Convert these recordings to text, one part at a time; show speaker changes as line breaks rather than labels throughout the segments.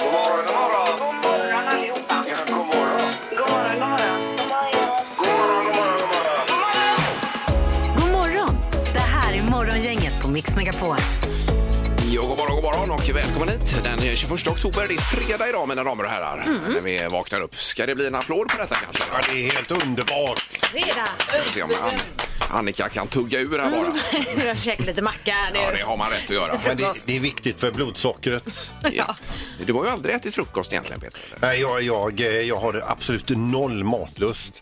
God morgon, god morgon.
God morgon allihopa.
Ja, god morgon.
God morgon, god morgon. God morgon.
God morgon, god morgon, god morgon.
God morgon! Det här är Morgongänget på Mix Megapol.
Ja, god morgon, god morgon och välkommen hit. Den 21 oktober, det är fredag idag mina damer och herrar. När vi vaknar upp. Ska det bli en applåd på detta kanske?
Ja, det är helt underbart.
Fredag!
Ska vi se om An Annika kan tugga ur här
Mm.
bara.
Jag käkar lite macka här nu.
Ja, det har man rätt att göra.
Men det, det är viktigt för blodsockret.
Ja. Du har ju aldrig ätit frukost egentligen Peter. eller?
Nej, jag, jag, eh, jag har absolut noll matlust.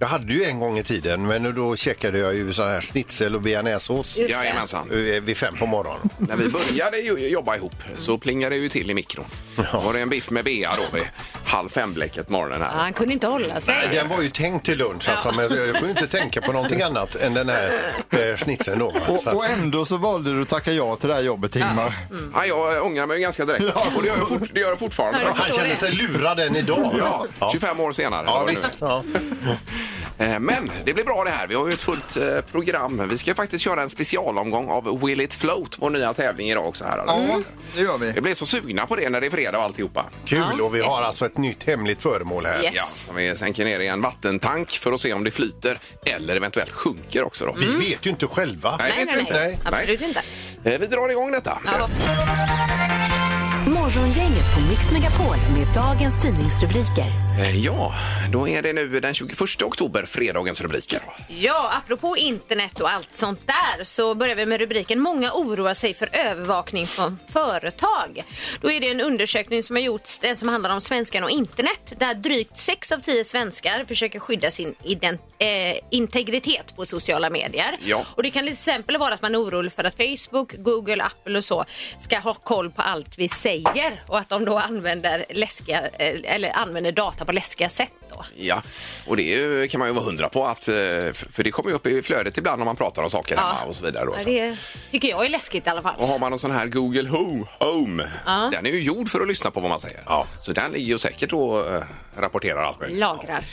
Jag hade ju en gång i tiden, men då checkade jag ju sån här schnitzel och bearnaisesås
Just det.
Jajamensan.
eh, vid fem på morgonen.
När vi började ju- jobba ihop så plingade det ju till i mikron. Då var det en biff med bea då vid halv fem-bläcket morgonen
Ja,
här.
han kunde inte hålla sig.
Den var ju tänkt till lunch, alltså, men jag, jag kunde inte tänka på någonting annat än den här eh, schnitzeln då. va. Så
Och,
att-
och ändå så valde du att tacka ja Mm. till det här jobbet, Ingmar.
Ja, jag ångrar mig ju ganska direkt. Och det gör jag, fort, det gör jag fortfarande.
han känner sig lurad än idag.
Ja,
ja.
25 år senare.
ja
Var det nu.
visst. Ja.
Eh, Men det blir bra det här. Vi har ju ett fullt eh, program. Vi ska faktiskt köra en specialomgång av Will It Float, vår nya tävling idag också. Här.
Ja, det gör vi.
Jag blev så sugna på det när det är fredag och alltihopa.
Kul, och vi har alltså ett nytt hemligt föremål här.
Yes.
Ja, som vi sänker ner i en vattentank för att se om det flyter eller eventuellt sjunker också. Då.
Mm.
Vi vet ju inte själva.
Nej,
Nej,
vet vi
nej,
inte.
nej. Absolut inte.
Eh, Vi drar igång detta.
Morgongänget på Mix Megapol med dagens tidningsrubriker.
Eh, Ja, då är det nu den 21 oktober, fredagens rubriker.
Ja, apropå internet och allt sånt där så börjar vi med rubriken Många oroar sig för övervakning från företag. Då är det en undersökning som har gjorts den som handlar om svenskarna och internet där drygt 6 av 10 svenskar försöker skydda sin ident- eh, integritet på sociala medier.
Ja.
Och det kan till exempel vara att man är orolig för att Facebook, Google, Apple och så ska ha koll på allt vi säger och att de då använder, läskiga, eh, eller använder data på läskiga sätt. Då.
Ja, och det är ju, kan man ju vara hundra på att, eh, f- för det kommer ju upp i flödet ibland om man pratar om saker hemma och så vidare. Då,
Ja,
Så-
det tycker jag är läskigt i alla fall.
Och har man en sån här Google Ho- Home, den är ju gjord för att lyssna på vad man säger. Så den ligger ju säkert och eh, rapporterar allt möjligt.
Lagrar.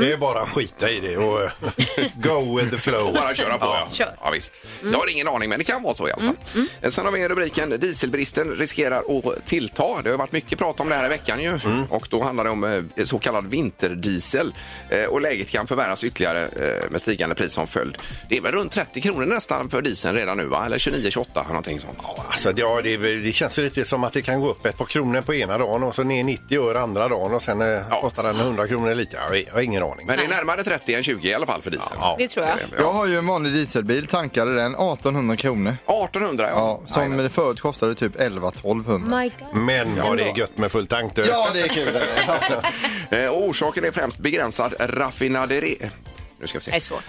Det är bara att skita i det och eh, go with the flow.
Bara köra på, ja.
Kör.
ja visst.
Mm.
Jag har ingen aning, men det kan vara så i alla fall. Eh, Sen har vi rubriken Dieselbristen riskerar att tillta. Det har varit mycket prat om det här i veckan ju.
Mm.
Och då handlar det om eh, så kallad vinterdiesel. Eh, Och läget kan förvärras ytterligare eh, med stigande pris som följd. Det är väl runt 30 kronor nästan för dieseln redan nu, va? Eller 29-28, någonting sånt.
Alltså, det- ja, det, det känns ju lite som att det kan gå upp ett par kronor på ena dagen och så ner 90 öre andra dagen och sen eh,
Ja.
kostar den 100 kronor lite. Jag, jag har ingen aning.
Men det är närmare 30 än 20 i alla fall för dieseln.
Ja.
Det tror jag.
Jag har ju en vanlig dieselbil, tankade den 1800 kronor.
1800,
Ja, som förut kostade typ 11-1200.
My God.
Men vad det är gött med full tank du.
Ja, det är kul.
Eh, och orsaken är främst begränsad raffinaderi... Nu ska vi se.
Det är svårt.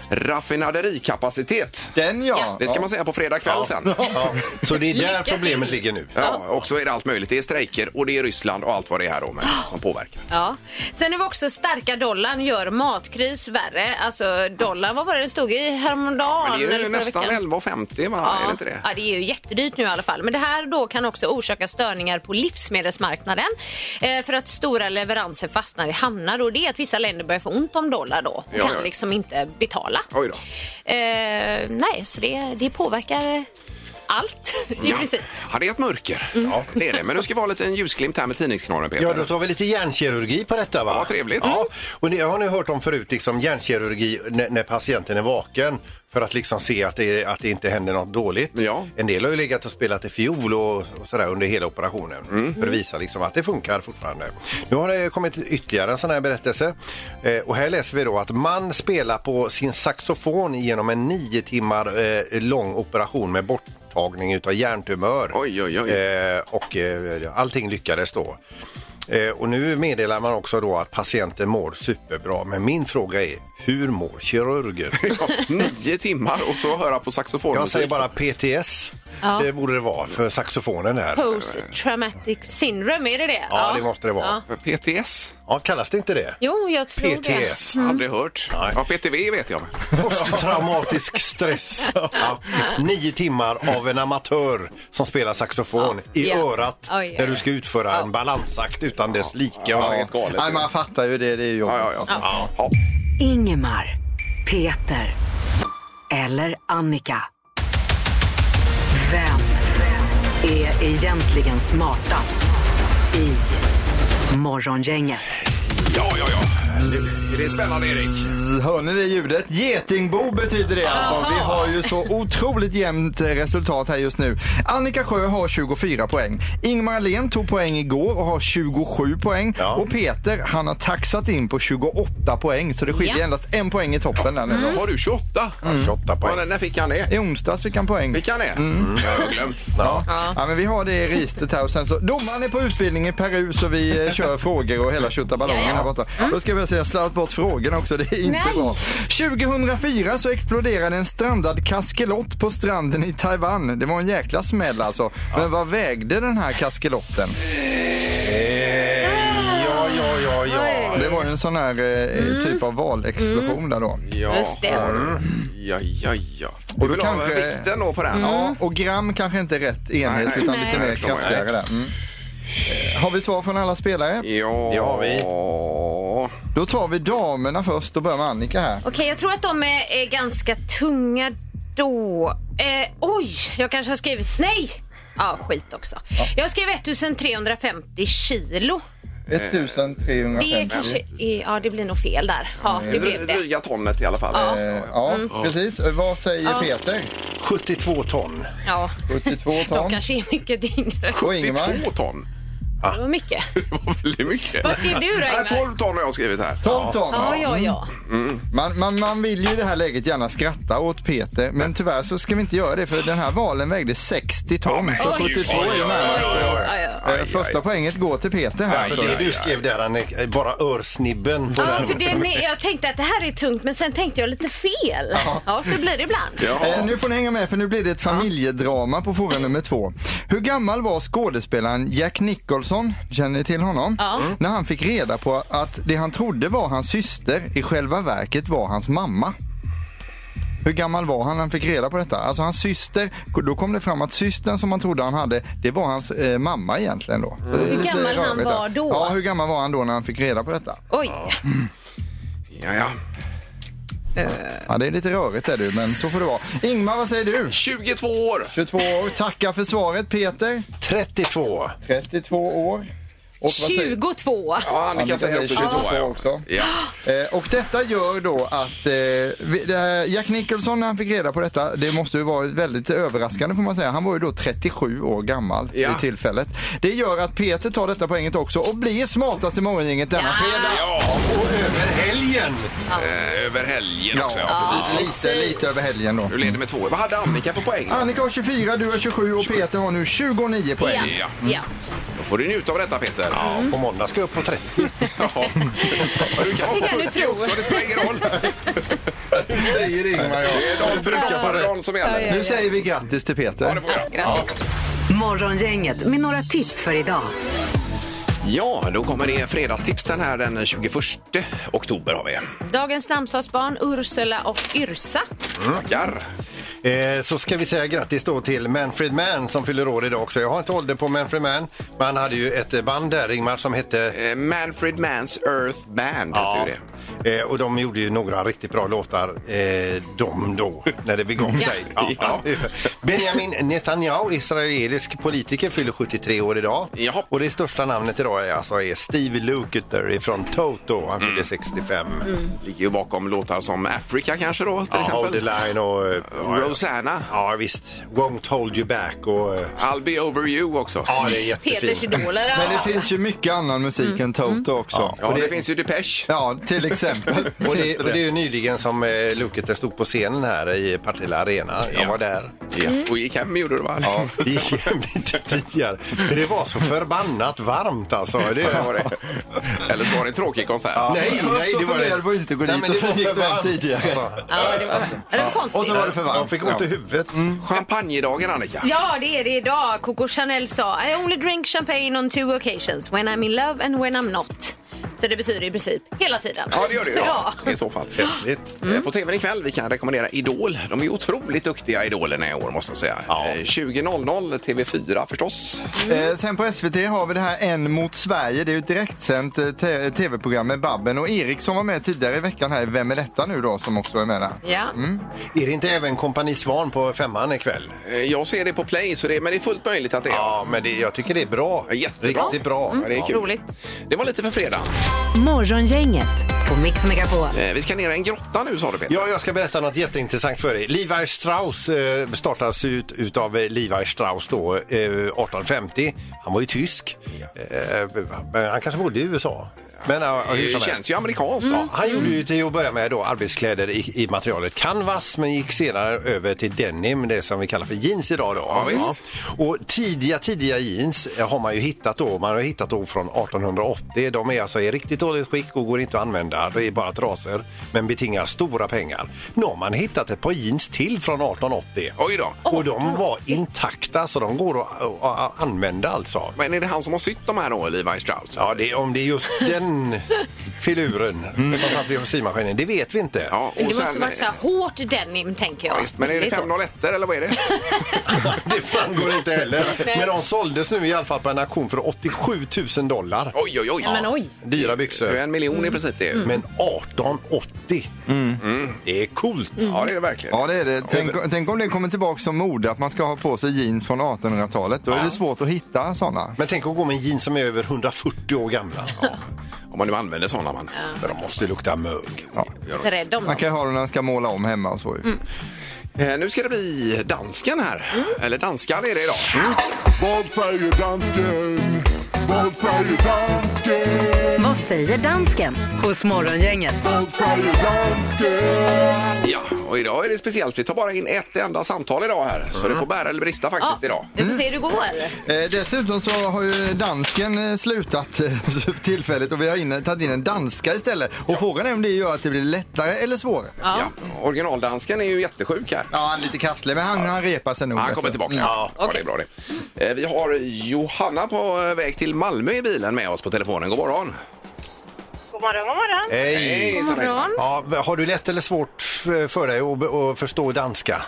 Raffinaderikapacitet.
Den ja.
Det ska man säga på fredag kväll sen.
Ja. Så det är
Lycka
där
till.
problemet ligger nu.
Ja, och så är det allt möjligt. Det är strejker och det är Ryssland och allt vad det är här då med, som påverkar.
Ja. Sen är det också starka dollarn gör matkris värre. Alltså dollarn, vad var det det stod i häromdagen?
Men det är
eller
ju
förra
nästan
veckan?
11,50 va?
Ja.
Är det inte det?
ja, det är ju jättedyrt nu i alla fall. Men det här då kan också orsaka störningar på livsmedelsmarknaden eh, för att stora leveranser fastnar i hamnar och det är att vissa länder börjar få ont om dollar då och
Ja,
kan
ja.
liksom inte betala.
Oj då.
Eh, nej, så det, det påverkar allt i
Ja.
princip.
Ja, det är ett mörker.
Mm.
Ja, det är det. Men nu ska vi ha lite en ljusglimt här med tidningsknorren Peter.
Ja, då tar vi lite hjärnkirurgi på detta va?
Ja, trevligt. Mm.
Ja, och ni, jag har ni hört om förut, liksom hjärnkirurgi när, när patienten är vaken för att liksom se att det, är- att det inte händer något dåligt.
Ja.
En del har ju legat och spelat i fiol och, och sådär under hela operationen
Mm.
för att visa liksom att det funkar fortfarande. Nu har det kommit ytterligare en sån här berättelse eh, och här läser vi då att man spelar på sin saxofon genom en nio timmar eh, lång operation med borttagning utav hjärntumör.
Oj, oj, oj.
Eh, och eh, allting lyckades då. Eh, och nu meddelar man också då att patienten mår superbra. Men min fråga är, hur mår kirurger?
Ja, nio timmar och så höra på saxofonmusik.
Jag säger bara PTS.
Ja.
Det borde det vara för saxofonen här.
Post traumatic syndrome, är det det?
Ja, det måste det vara.
Ja.
PTS?
Ja, kallas det inte det?
Jo, jag tror det.
PTS.
Aldrig hört.
Nej.
Ja, PTV vet jag.
Posttraumatisk stress. Ja. Nio timmar av en amatör som spelar saxofon i
Ja.
örat
Oj, oj,
när du
oj.
ska utföra en balansakt utan dess like.
Ja, helt galet.
Nej, man fattar ju det. Det är ju jobbigt.
Ja, ja, ja. ja. ja.
Ingemar, Peter eller Annika. Vem är egentligen smartast i Morgongänget.
Ja, ja, ja. Det, det är spännande, Erik.
Hör ni det ljudet? Getingbo betyder det alltså. Vi har ju så otroligt jämnt eh, resultat här just nu. Annika Sjö har 24 poäng. Ingmar Ahlén tog poäng igår och har 27 poäng.
Ja.
Och Peter, han har taxat in på 28 poäng. Så det skiljer
Ja.
endast en poäng i toppen där nu då.
Har du 28?
28
Ja,
poäng.
när- när fick han det?
I onsdags fick han poäng.
Fick han det? Jag har glömt.
Ja.
Ja. men vi har det i registret här och sen så domaren är på utbildning i Peru så vi eh, kör frågor och hela tjottaballongen här borta. Då ska vi se, jag har slarvat bort frågorna också, det är inte
Nej.
bra. 2004 så exploderade en strandad kaskelott på stranden i Taiwan. Det var en jäkla smäll alltså. Men vad vägde den här kaskelotten?
Ja, ja, ja, ja.
Det var ju en sån här eh, typ av valexplosion där då.
Ja.
Just det.
Mm. Ja, ja, ja. Du
då
vill ha
kanske-
vikten då på den?
Mm.
Ja, och gram kanske inte är rätt enhet
Nej,
utan
nej. Nej,
lite mer
jag förstår.
kraftigare där. Mm. Eh, Har vi svar från alla spelare?
Ja.
Det har vi.
Då tar vi damerna först. Då börjar med Annika här.
Okej, jag tror att de är, är ganska tunga då. Eh, oj, jag kanske har skrivit... Nej! Ja, skit också. Jag skrev 1350 kilo.
1350.
Det kanske är, Ja, det blir nog fel där. Ja, det blev det.
Dryga tonnet i alla fall.
Ja.
Eh, Ja, precis. Eh, Vad säger Peter?
72 ton.
Ja.
72
De
ton.
kanske är mycket tyngre.
Och
Det
Ingemar?
är två ton.
Det var mycket.
Det var väldigt mycket.
Vad skrev du då,
Nej,
Ingmar?
12 ton har jag skrivit här.
12 ton.
Ja, ja, ja.
Man, man, man vill ju i det här läget gärna skratta åt Peter, men tyvärr så ska vi inte göra det för den här valen vägde 60 ton. Så
Oj,
72
oj,
är
oj,
närmast.
Oj, oj, oj.
Eh, Första poänget går till Peter här.
Alltså
Så.
det du skrev där, Annika, är bara örsnibben på
Ja,
den.
för den är, jag tänkte att det här är tungt, men sen tänkte jag lite fel. Ja, så blir det ibland.
Ja.
Eh, nu får ni hänga med för nu blir det ett familjedrama på fråga nummer två. Hur gammal var skådespelaren Jack Nicholson, känner ni till honom? Mm.
Ja.
När han fick reda på att det han trodde var hans syster i själva verket var hans mamma. Hur gammal var han när han fick reda på detta? Alltså hans syster, då kom det fram att systern som han trodde han hade, det var hans eh, mamma egentligen då. Så det är
Hur
lite
gammal han
rörigt där.
var då?
Ja, hur gammal var han då när han fick reda på detta?
Oj.
Ja, ja.
Ja, det är lite rörigt är du, men så får det vara. Ingmar, vad säger du?
22 år.
22 år, tacka för svaret Peter.
32.
32 år. Och, vad säger-
22.
Ja, Annika
Annika
säger också 22.
säger 22
ja.
också.
Ja.
Eh, och detta gör då att eh, vi- det här Jack Nicholson när han fick reda på detta, det måste ju vara väldigt överraskande får man säga. Han var ju då 37 år gammal
Ja.
vid tillfället. Det gör att Peter tar detta poänget också och blir smartast i morgongänget denna fredag.
Ja,
Och över helgen!
eh, över helgen också. Ja, precis.
lite, lite över helgen då.
Du leder med två. Vad hade Annika för poäng?
Annika har 24, du har 27 och Peter har nu 29 poäng.
Ja.
Ja.
ja.
Då får du njuta av detta, Peter. Ja.
På måndag ska jag upp på 30.
Du kan vara på
kan du
40
tro.
också, det spelar ingen roll.
Säger Ingmar, ja.
Det är dagen för uka för dagen som gäller.
Nu säger vi grattis till Peter.
Ja, det får jag.
Grattis.
Morgongänget med några tips för idag.
Ja, då kommer det fredagstips den här den 21 oktober har vi.
Dagens namnsdagsbarn Ursula och Yrsa.
Tackar.
Eh, så ska vi säga grattis då till Manfred Mann som fyller år idag också. Jag har inte ålder på Manfred Mann, men han hade ju ett band där, Ingmar, som hette...
Eh, Manfred Manns Earth Band heter ju det.
Eh, och de gjorde ju några riktigt bra låtar, eh, de då, när det begav sig.
Ja.
Benjamin Netanyahu, israelisk politiker, fyller 73 år idag.
Jaha.
Och det största namnet idag är, alltså, är Steve Lukather från Toto. Han fyller 65.
Ligger ju bakom låtar som Africa kanske då till
Ja, Hold the
exempel.
line och... eh,
Rosanna.
Ja, visst. Won't hold you back och... eh,
I'll be over you också.
Ja, det är
Peters
jättefint.
idoler.
Men det
Ja.
finns ju mycket annan musik än Toto också.
Ja, det, finns ju Depeche.
Ja, till exempel.
Och det, och det är ju nyligen som eh, Lukather stod på scenen här i Partille Arena. Jag
Ja.
var där.
Ja. Mm. Och gick hem gjorde det va?
Ja, det gick hem lite tidigare. För det var så förbannat varmt alltså.
Det
Det
var det. Eller så var det en tråkig konsert.
Nej,
Först så funderade på att inte gå dit
men
och
det
sen
var
gick
för
du hem
varmt, Alltså.
tidigare.
Ja, det var, det var konstigt.
Och så var det för varmt.
De fick ont i huvudet.
Mm. Champagnedagen Annika.
Ja, det är det idag. Coco Chanel sa I only drink champagne on two occasions. When I'm in love and when I'm not. Så det betyder i princip hela tiden.
Ja, det gör det ju. Ja.
Ja.
I så fall.
Festligt.
Eh, På tvn ikväll vi kan rekommendera Idol. De är otroligt duktiga Idolerna i år måste jag säga.
Ja.
Eh, 20.00 TV4 förstås.
Eh, sen på SVT har vi det här En mot Sverige. Det är ju ett direktsänt eh, te- tv-program med Babben och Erik som var med tidigare i veckan här. i Vem är detta nu då som också är med där?
Ja.
Är det inte även Kompani Svan på femman ikväll?
Eh, Jag ser det på Play, så det, men det är fullt möjligt att det är.
Ja, men det, jag tycker det är bra.
Jättebra.
Riktigt bra.
Ja, det är kul.
Roligt.
Det var lite för fredag.
Morgongänget på Mix Megapol.
Eh, Vi ska ner i en grotta nu sa du Peter.
Ja, jag ska berätta något jätteintressant för dig. Levi Strauss eh, startas ut utav eh, Levi Strauss då, eh, 1850. Han var ju tysk. Eh, men han kanske bodde i USA. Men, eh, hur
Det
som helst. Mm.
känns ju amerikanskt.
Ja, han gjorde
Mm.
ju till att börja med då arbetskläder i, i materialet canvas men gick senare över till denim, det som vi kallar för jeans idag. Då.
Ja, visst.
Och tidiga, tidiga jeans eh, har man ju hittat då. Man har hittat då från 1880. De är alltså i riktigt dåligt skick och går inte att använda. Det är bara trasor men betingar stora pengar. Nu har man hittat ett par jeans till från 1880.
Oj då.
Och de var intakta så de går att, att, att använda alltså.
Men är det han som har sytt de här då, Levi Strauss?
Ja, det, om det är just den filuren som satt vid symaskinen, det vet vi inte.
Mm. Ja,
Men
och
det måste
sen,
varit så här hårt denim, tänker jag.
Visst, men är det
Väldigt
501 eller vad är det?
Det framgår inte heller.
Nej.
Men de såldes nu i alla fall på en auktion för 87 000 dollar.
Oj, Mm. oj, oj.
Ja, men oj.
Det
Dyra
är ju
byxor. Mm.
en miljon i princip det.
Men 1880,
Mm.
det är coolt.
Ja, det är det verkligen.
Ja, det är det. Tänk, tänk om det kommer tillbaka som mode att man ska ha på sig jeans från 1800-talet. Då är det svårt att hitta sådana.
Men tänk att gå med en jeans som är över 140 år gamla.
Om man nu använder sådana man.
Men de måste ju lukta mög.
inte typ rädd om
Man
dem.
kan ju ha dem när man ska måla om hemma och så. ju.
Eh, nu ska det bli dansken här. Eller danskan är det idag.
Vad säger dansken? Vad säger dansken?
Vad säger dansken hos Morgongänget?
Vad säger dansken?
Ja, och idag är det speciellt. Vi tar bara in ett enda samtal idag här. Så det får bära eller brista faktiskt idag.
Vi får se hur det går.
Eh, dessutom så har ju dansken eh, slutat eh, för tillfället och vi har in, tagit in en danska istället. Och frågan är om det gör att det blir lättare eller svårare.
Ja. Originaldansken är ju jättesjuk här.
Ja, han är lite krasslig, men han, han repar sig nog. Mm.
Han
bättre.
kommer tillbaka. Ja, ja, det är bra det. Eh, Vi har Johanna på eh, väg till Malmö i bilen med oss på telefonen. God morgon!
God morgon, god morgon.
Eh. Hej!
Hejsan, hejsan.
Morgon.
Ja, har du lätt eller svårt f- för dig att, be- att förstå danska?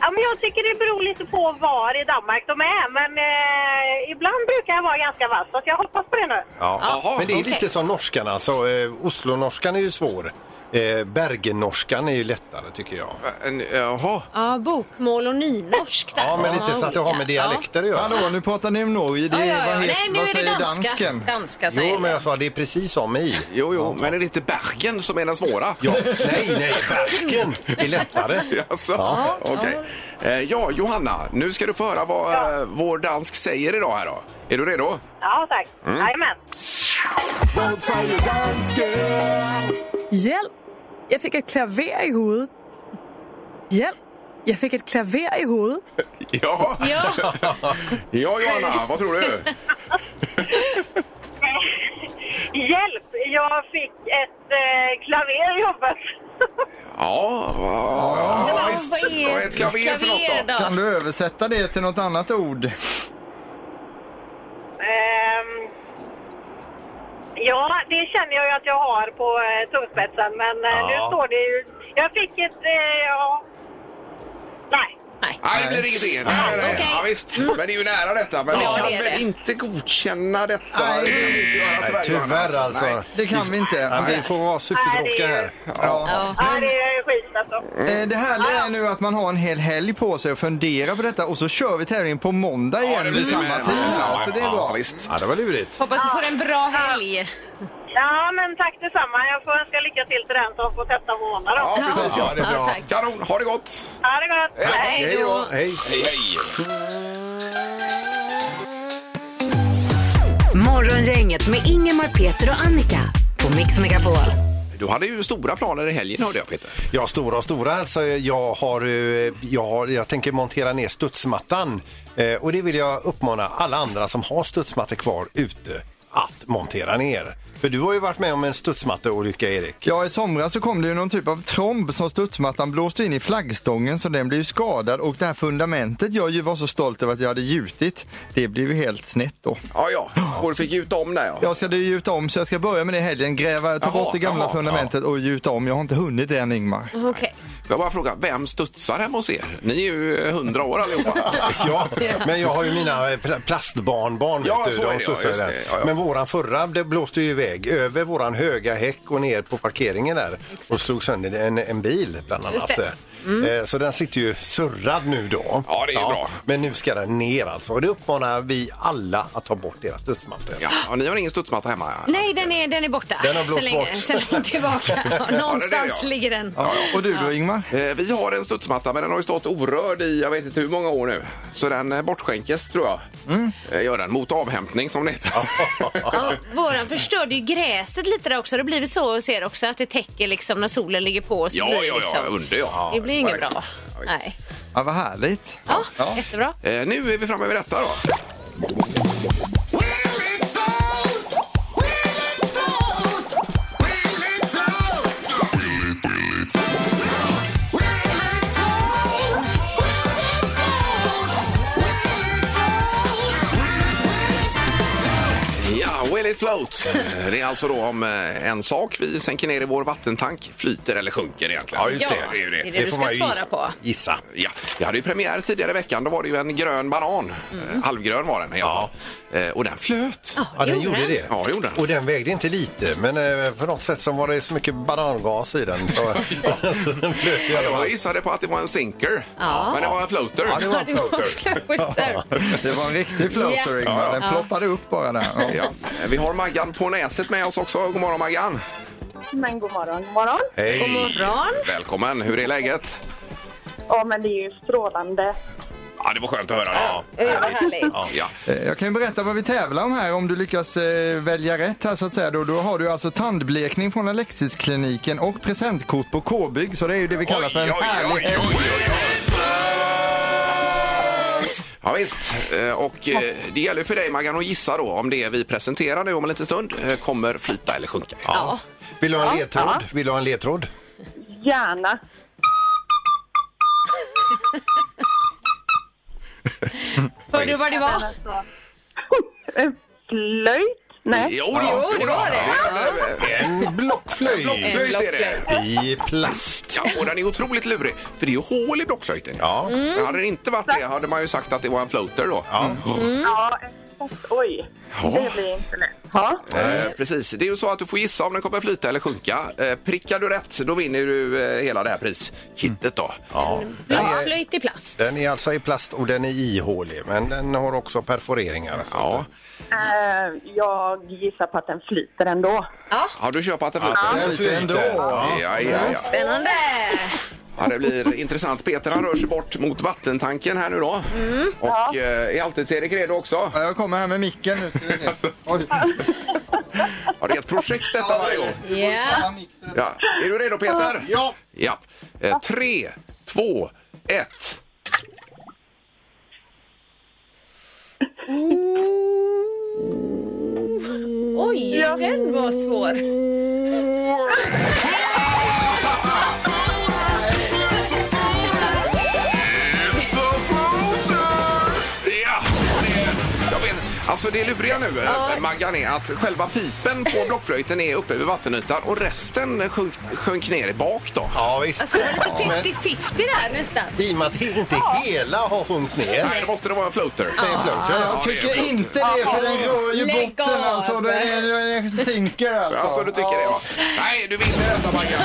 Ja, men jag tycker det beror lite på var i Danmark de är, men eh, ibland brukar jag vara ganska vass, så att jag hoppas på det nu.
Ja.
Jaha,
men det är
okej.
lite som norskan alltså. Eh, Oslo-norskan är ju svår. Eh, Bergen-norskan är ju lättare tycker jag.
En- Eh, Jaha,
Ja, bokmål och nynorsk där.
Ja, men
Ja,
lite så att det har med
olika.
dialekter att göra.
Hallå, nu pratar ni om Norge. Det,
Ja,
är-
ja, ja.
Vad, heter,
Nej, nu
vad
är det
säger
danska.
dansken?
Danska
Jo,
säger
men
jag.
jag sa det är precis som i.
jo, jo, men är det inte Bergen som är den svåra?
Ja, nej, nej, Bergen är lättare.
Jaså? Ja, okej. Eh, ja, Johanna, nu ska du få höra vad eh, vår dansk säger idag här då. Är du redo?
Ja, tack. Jajamän.
Vad säger dansken?
Hjælp! Jeg fik et klaver i hovedet. Hjælp! Jag fick ett klaver i hovedet.
Ja,
Ja,
ja Johanna, vad tror du?
Hjälp! Jag fick ett eh, klaver i jobbet.
Ja, ja, ja
vad
visst. Vad
är
är ett klaver för något då?
Kan du översätta det till något annat ord?
Ehm, ja, det känner jag ju att jag har på eh, tungspetsen, men eh,
Ja.
nu står det ju... Jag fick ett... Eh, ja... Nej.
Nej, det blir inget E. Nej, nej, Mm. nej.
okej.
Ja, visst. Men det är ju nära detta.
Ja,
Men vi kan
det är
väl
det.
inte godkänna detta?
Nej.
Det kan vi inte göra,
Nej, tyvärr alltså.
Nej.
Det kan vi inte.
Ja, vi får vara supertråkiga här.
Ja.
Ja, det är skit alltså.
Eh, Det härliga är nu att man har en hel helg på sig att fundera på detta och så kör vi tävlingen på måndag igen
det blir
vid samma
med.
tid.
Ja,
så det är
Ja,
bra.
visst. Ja, det var lurigt.
Hoppas du får en bra helg.
Ja, men tack detsamma. Jag får önska lycka till till den som får testa på måndag då.
Ja, precis. Ja, det är
Ja,
bra.
tack.
Kanon. Ha det gott.
Ha det gott! Hej.
Hej
Hej då. Hej.
Hej, hej.
Morgongänget med Ingemar, Peter och Annika på Mix Megapol.
Du hade ju stora planer i helgen hörde jag Peter.
Ja, stora och stora. Alltså, jag, har, eh, jag, har, jag tänker montera ner studsmattan. Eh, Och det vill jag uppmana alla andra som har studsmattor kvar ute att montera ner. För du har ju varit med om en studsmatteolycka, Erik.
Ja, i somras så kom det ju någon typ av tromb som studsmattan blåste in i flaggstången så den blev ju skadad och det här fundamentet jag ju var så stolt över att jag hade gjutit, det blev ju helt snett då.
Ja, ja. Och du fick gjuta om där ja.
Jag ska ju gjuta om så jag ska börja med det i helgen, gräva, ta
Jaha,
bort det gamla
jaha,
fundamentet och gjuta om. Jag har inte hunnit det än Ingmar.
Okej.
Jag bara frågar, vem studsar hemma hos er? Ni är ju hundra år allihopa.
Ja, men jag har ju mina eh, pla- plastbarnbarn.
Ja,
vet du,
så
de
är det, ja,
studsar ju
just
där.
det, ja, ja.
Men våran förra det blåste ju iväg över våran höga häck och ner på parkeringen där och slog sönder en, en bil bland annat.
Just det. Mm.
Eh, Så den sitter ju surrad nu då.
Ja, det är ju bra.
Men nu ska den ner alltså. Och det uppmanar vi alla att ta bort deras studsmattor.
Ja, och ni har ingen studsmatta hemma? ja?
Nej, den är, den är borta.
Den har blåst
sen länge,
bort.
sen långt tillbaka. Ja, Någonstans
det är det, ja.
ligger den.
Ja, Och du då Ingmar?
Eh, Vi har en studsmatta, men den har ju stått orörd i jag vet inte hur många år nu. Så den eh, bortskänkes, tror jag. Eh, Gör den. Mot avhämtning, som det heter.
Ja, våran förstörde ju gräset lite där också. Det har blivit så hos er också att det täcker liksom när solen ligger på. Så
Ja,
blir det
ja, ja,
liksom.
under, ja.
Det blir inget bra.
Ja, visst.
Nej.
Ja, vad härligt.
Ja, jättebra.
Eh, Nu är vi framme vid detta då. Ja, will it float? Eh, Det är alltså då om eh, en sak vi sänker ner i vår vattentank flyter eller sjunker egentligen.
Ja, just det.
Ja, det är det,
ju
du
får
ska
man ju
svara på.
Gissa.
Ja, vi hade ju premiär tidigare i veckan. Då var det ju en grön banan. Mm. Halvgrön var den i alla fall. Eh, Och den flöt.
Ja, den gjorde
den.
det.
Ja, det gjorde den.
Och den vägde inte lite, men eh, på något sätt så var det så mycket banangas i den. Så, så den flöt i alla fall.
Jag gissade på att det var en sinker, men det var en floater. Ja,
Ja, det var floater.
Det var en riktig floater
Ja.
Ingmar. Den
Ja.
ploppade upp bara där. Ja.
Eh, Vi har Maggan på näset med oss också. God morgon Maggan!
Men god morgon, god morgon.
Hej.
God morgon.
Välkommen! Hur är läget?
Ja, men det är ju strålande.
Ja, det var skönt att höra det.
Eh, Vad härligt.
Ja.
Eh, Jag kan ju berätta vad vi tävlar om här om du lyckas eh, välja rätt här så att säga. Då, då har du alltså tandblekning från Alexiskliniken och presentkort på K-bygg. Så det är ju det vi kallar för en härlig helg.
Ja, visst. Eh, Och eh, det gäller för dig Maggan att gissa då om det vi presenterar nu om en liten stund eh, kommer flyta eller sjunka.
Ja. Vill du ha en ledtråd? Vill du ha en ledtråd?
Gärna.
Hörde du vad det var?
Flöjt? Nej.
Jo, då, jo, det var det.
En blockflöjt
Blockflöjt är det.
i plast.
Ja, och den är otroligt lurig, för det är ju hål i blockflöjten.
Ja.
Mm.
Men hade det inte varit det hade man ju sagt att det var en floater då.
Ja.
Ja, exakt. Oj. Det blir inte lätt. Ja.
Eh, precis. Det är ju så att du får gissa om den kommer flyta eller sjunka. Eh, prickar du rätt, då vinner du eh, hela det här priskittet då.
Mm. Ja.
Blomflöjt i plast.
Den är alltså i plast och den är ihålig, men den har också perforeringar. Så
Ja.
Eh, jag gissar på att den flyter ändå.
Har du köpt att den flyter?
Den
Lite
flyter.
ändå.
Ja, ja, ja.
Spännande.
ja, det blir intressant. Peter han rör sig bort mot vattentanken här nu då. Och eh, är alltid Erik redo också?
Ja, Jag kommer här med micken nu. Ska vi
Alltså.
se. Oj.
Ja, det är ett projekt detta varje gång.
Ja.
Ja. Är du redo Peter? Ja. ja. Eh, tre, två, ett.
Oj, den var svår.
Ja! det- Jag vet, alltså det luriga nu, ja. Maggan, är att själva pipen på blockflöjten är uppe vid vattenytan och resten sjönk, sjönk ner i bak då.
Ja, visst.
Alltså det var
Ja, men
lite 50-50 där nästan.
I och med att inte hela har sjunkit ner.
Nej, då måste det vara en floater.
Det är flöjt, ja, ja.
Ah, Jag
det är
tycker
flöjt.
inte det för den rör ju
Lägg
botten
av.
alltså. Den är, den är sinker alltså.
Alltså du tycker det ja. Nej, du vinner detta Maggan.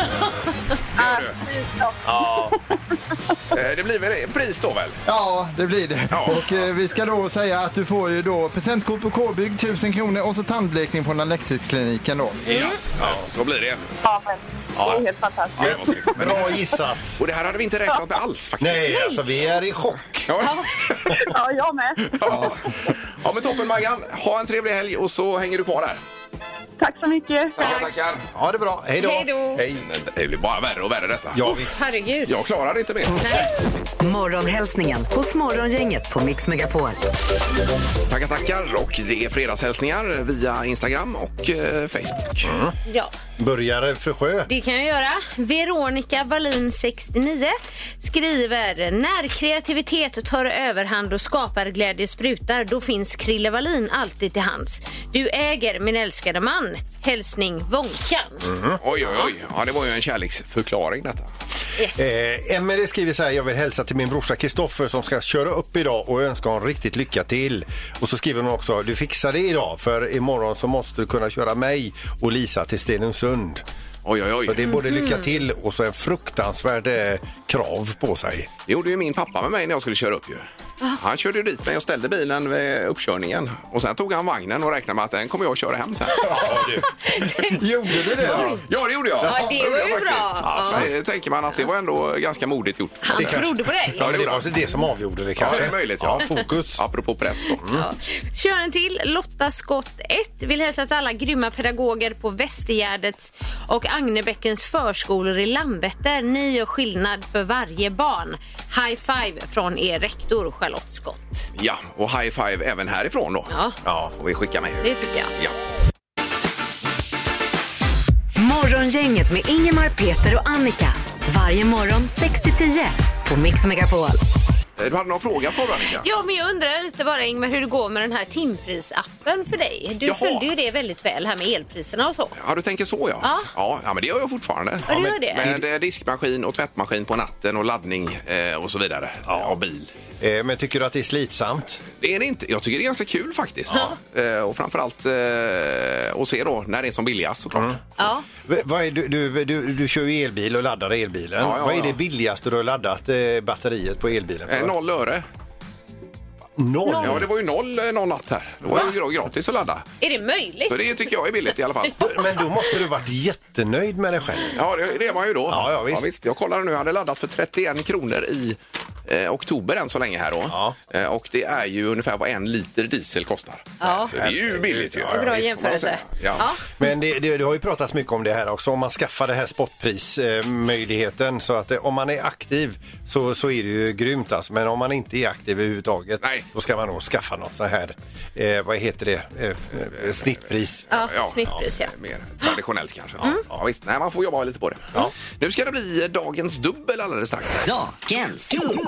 Det gör du. Eh, Det blir väl pris då väl?
Ja, det blir det.
Ja.
Och eh, vi ska då säga att du får ju då presentkort på K-bygg, 1000 kronor och så tandblekning från Alexiskliniken då.
Ja. ja, så blir det.
Ja, men det är helt fantastiskt.
Ja, det var snyggt. Men-
Bra gissat.
Och det här hade vi inte räknat med alls faktiskt.
Nej, alltså vi är i chock.
Ja.
Ja, jag med.
Ja. ja, men toppen Maggan. Ha en trevlig helg och så hänger du kvar där.
Tack så mycket.
Ja, tackar.
Ha det bra. Hej då.
Hej då.
Hej. Det blir bara värre och värre detta.
Ja, visst.
Herregud.
Jag klarar inte mer.
Nej.
Morgonhälsningen hos Morgongänget på Mix Megapol.
Tackar, tackar. Och det är fredagshälsningar via Instagram och eh, Facebook.
Mm.
Ja.
Börjar Frösjö.
Det kan jag göra. Veronica Wallin, 69, skriver När kreativitet tar överhand och skapar glädje sprutar, då finns Krille Wallin alltid till hands. Du äger min älskade man. Hälsning Vonkan.
Mm-hmm.
Oj, oj, oj. Ja, det var ju en kärleksförklaring detta.
Yes.
Eh, Emelie skriver så här, jag vill hälsa till min brorsa Kristoffer som ska köra upp idag och önska honom riktigt lycka till. Och så skriver hon också, du fixar det idag för imorgon så måste du kunna köra mig och Lisa till Stenungsund.
Oj, oj, oj.
Så det är både lycka
Mhm.
till och så en fruktansvärd eh, krav på sig.
Det gjorde ju min pappa med mig när jag skulle köra upp ju. Han körde ju dit mig och ställde bilen vid uppkörningen. Och sen tog han vagnen och räknade med att den kommer jag att köra hem sen.
Gjorde du det då?
Ja, det gjorde jag.
Ja, det
gjorde
var
jag
ju bra.
faktiskt.
Ja.
Alltså, det tänker man att det var ändå ganska modigt gjort.
Han trodde på dig.
Ja, men det var alltså det som avgjorde det kanske.
Ja, det är möjligt, ja.
fokus.
Apropå press då.
Ja. Kör en till. Lotta Skott 1 vill hälsa till alla grymma pedagoger på Västergärdets och Agnebäckens förskolor i Landvetter. Ni gör skillnad för varje barn. High five från er rektor Charlotte Skott.
Ja, och high five även härifrån då.
Ja.
ja får vi skicka med.
Det tycker jag.
Ja.
Morgongänget med Ingemar, Peter och Annika. Varje morgon 6 till 10 på Mix Megapol.
Eh, Du hade någon fråga sa du Annika?
Ja, men jag undrar lite bara Ingmar hur det går med den här timprisappen för dig. Du
Jaha.
följde ju det väldigt väl här med elpriserna och så.
Ja, du tänker så ja.
Ja.
ja. ja, men det gör jag fortfarande.
Ja, du
men-
gör det.
Med eh, diskmaskin och tvättmaskin på natten och laddning eh, och så vidare. Ja. Och bil.
Eh, men tycker du att det är slitsamt?
Det är det inte. Jag tycker det är ganska kul faktiskt. Eh, och framförallt eh, att se då när det är som billigast såklart.
Ja.
V- Vad är, du, du, du, du kör ju elbil och laddar elbilen.
Ja, ja,
Vad är det
ja.
billigaste du har laddat eh, batteriet på elbilen för?
Eh, noll öre.
Noll?
Ja, det var ju noll eh, någon natt här. Det var ju gra- gratis att ladda.
Är det möjligt?
Så det tycker jag är billigt i alla fall.
Men då måste du varit jättenöjd med dig själv.
Ja, det, det är man ju då.
Ja, ja, visst.
Jag kollade nu, jag hade laddat för 31 kronor i eh, oktober än så länge här då.
Ja.
Eh, och det är ju ungefär vad en liter diesel kostar.
Ja.
Så det är ju billigt ju.
Bra
Det får man
jämförelse.
säga. Ja.
Ja.
Men det, det, det har ju pratats mycket om det här också, om man skaffar det här spotprismöjligheten. Så att eh, om man är aktiv så, så är det ju grymt alltså. Men om man inte är aktiv överhuvudtaget
Nej.
då ska man nog skaffa något så här, eh, vad heter det, eh, eh, snittpris.
Ja, snittpris, ja. Mm.
Mer traditionellt kanske. Ja, ja, visst. Nej, man får jobba lite på det. Nu ska det bli eh, dagens dubbel alldeles strax. här.
Dagens dubbel.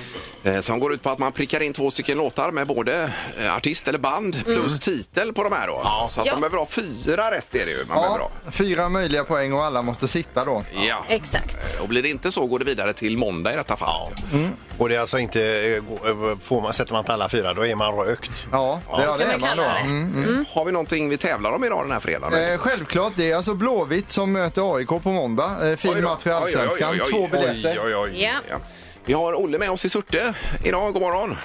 Eh, Som går ut på att man prickar in två stycken låtar med både eh, artist eller band plus titel på de här då. Så att
Mm. Ja.
de behöver ha fyra rätt är det ju. Man behöver
Ja,
ha.
fyra möjliga poäng och alla måste sitta då.
Ja.
Exakt.
Och blir det inte så går det vidare till måndag i detta fall.
Och det är alltså inte, eh, gå- eh, får man, sätter man inte alla fyra då är man rökt.
Ja, det, ja, det
kan
är
man
man då.
kalla det.
Mm.
Har vi någonting vi tävlar om idag den här fredagen?
Eh, självklart, det är alltså Blåvitt som möter AIK på måndag. Eh,
Oj
fin
då.
match i
Oj, oj, oj, oj,
Allsvenskan.
oj.
Två
Oj,
biljetter.
oj, oj.
Ja.
Ja. Vi har Olle med oss i Surte idag. God morgon!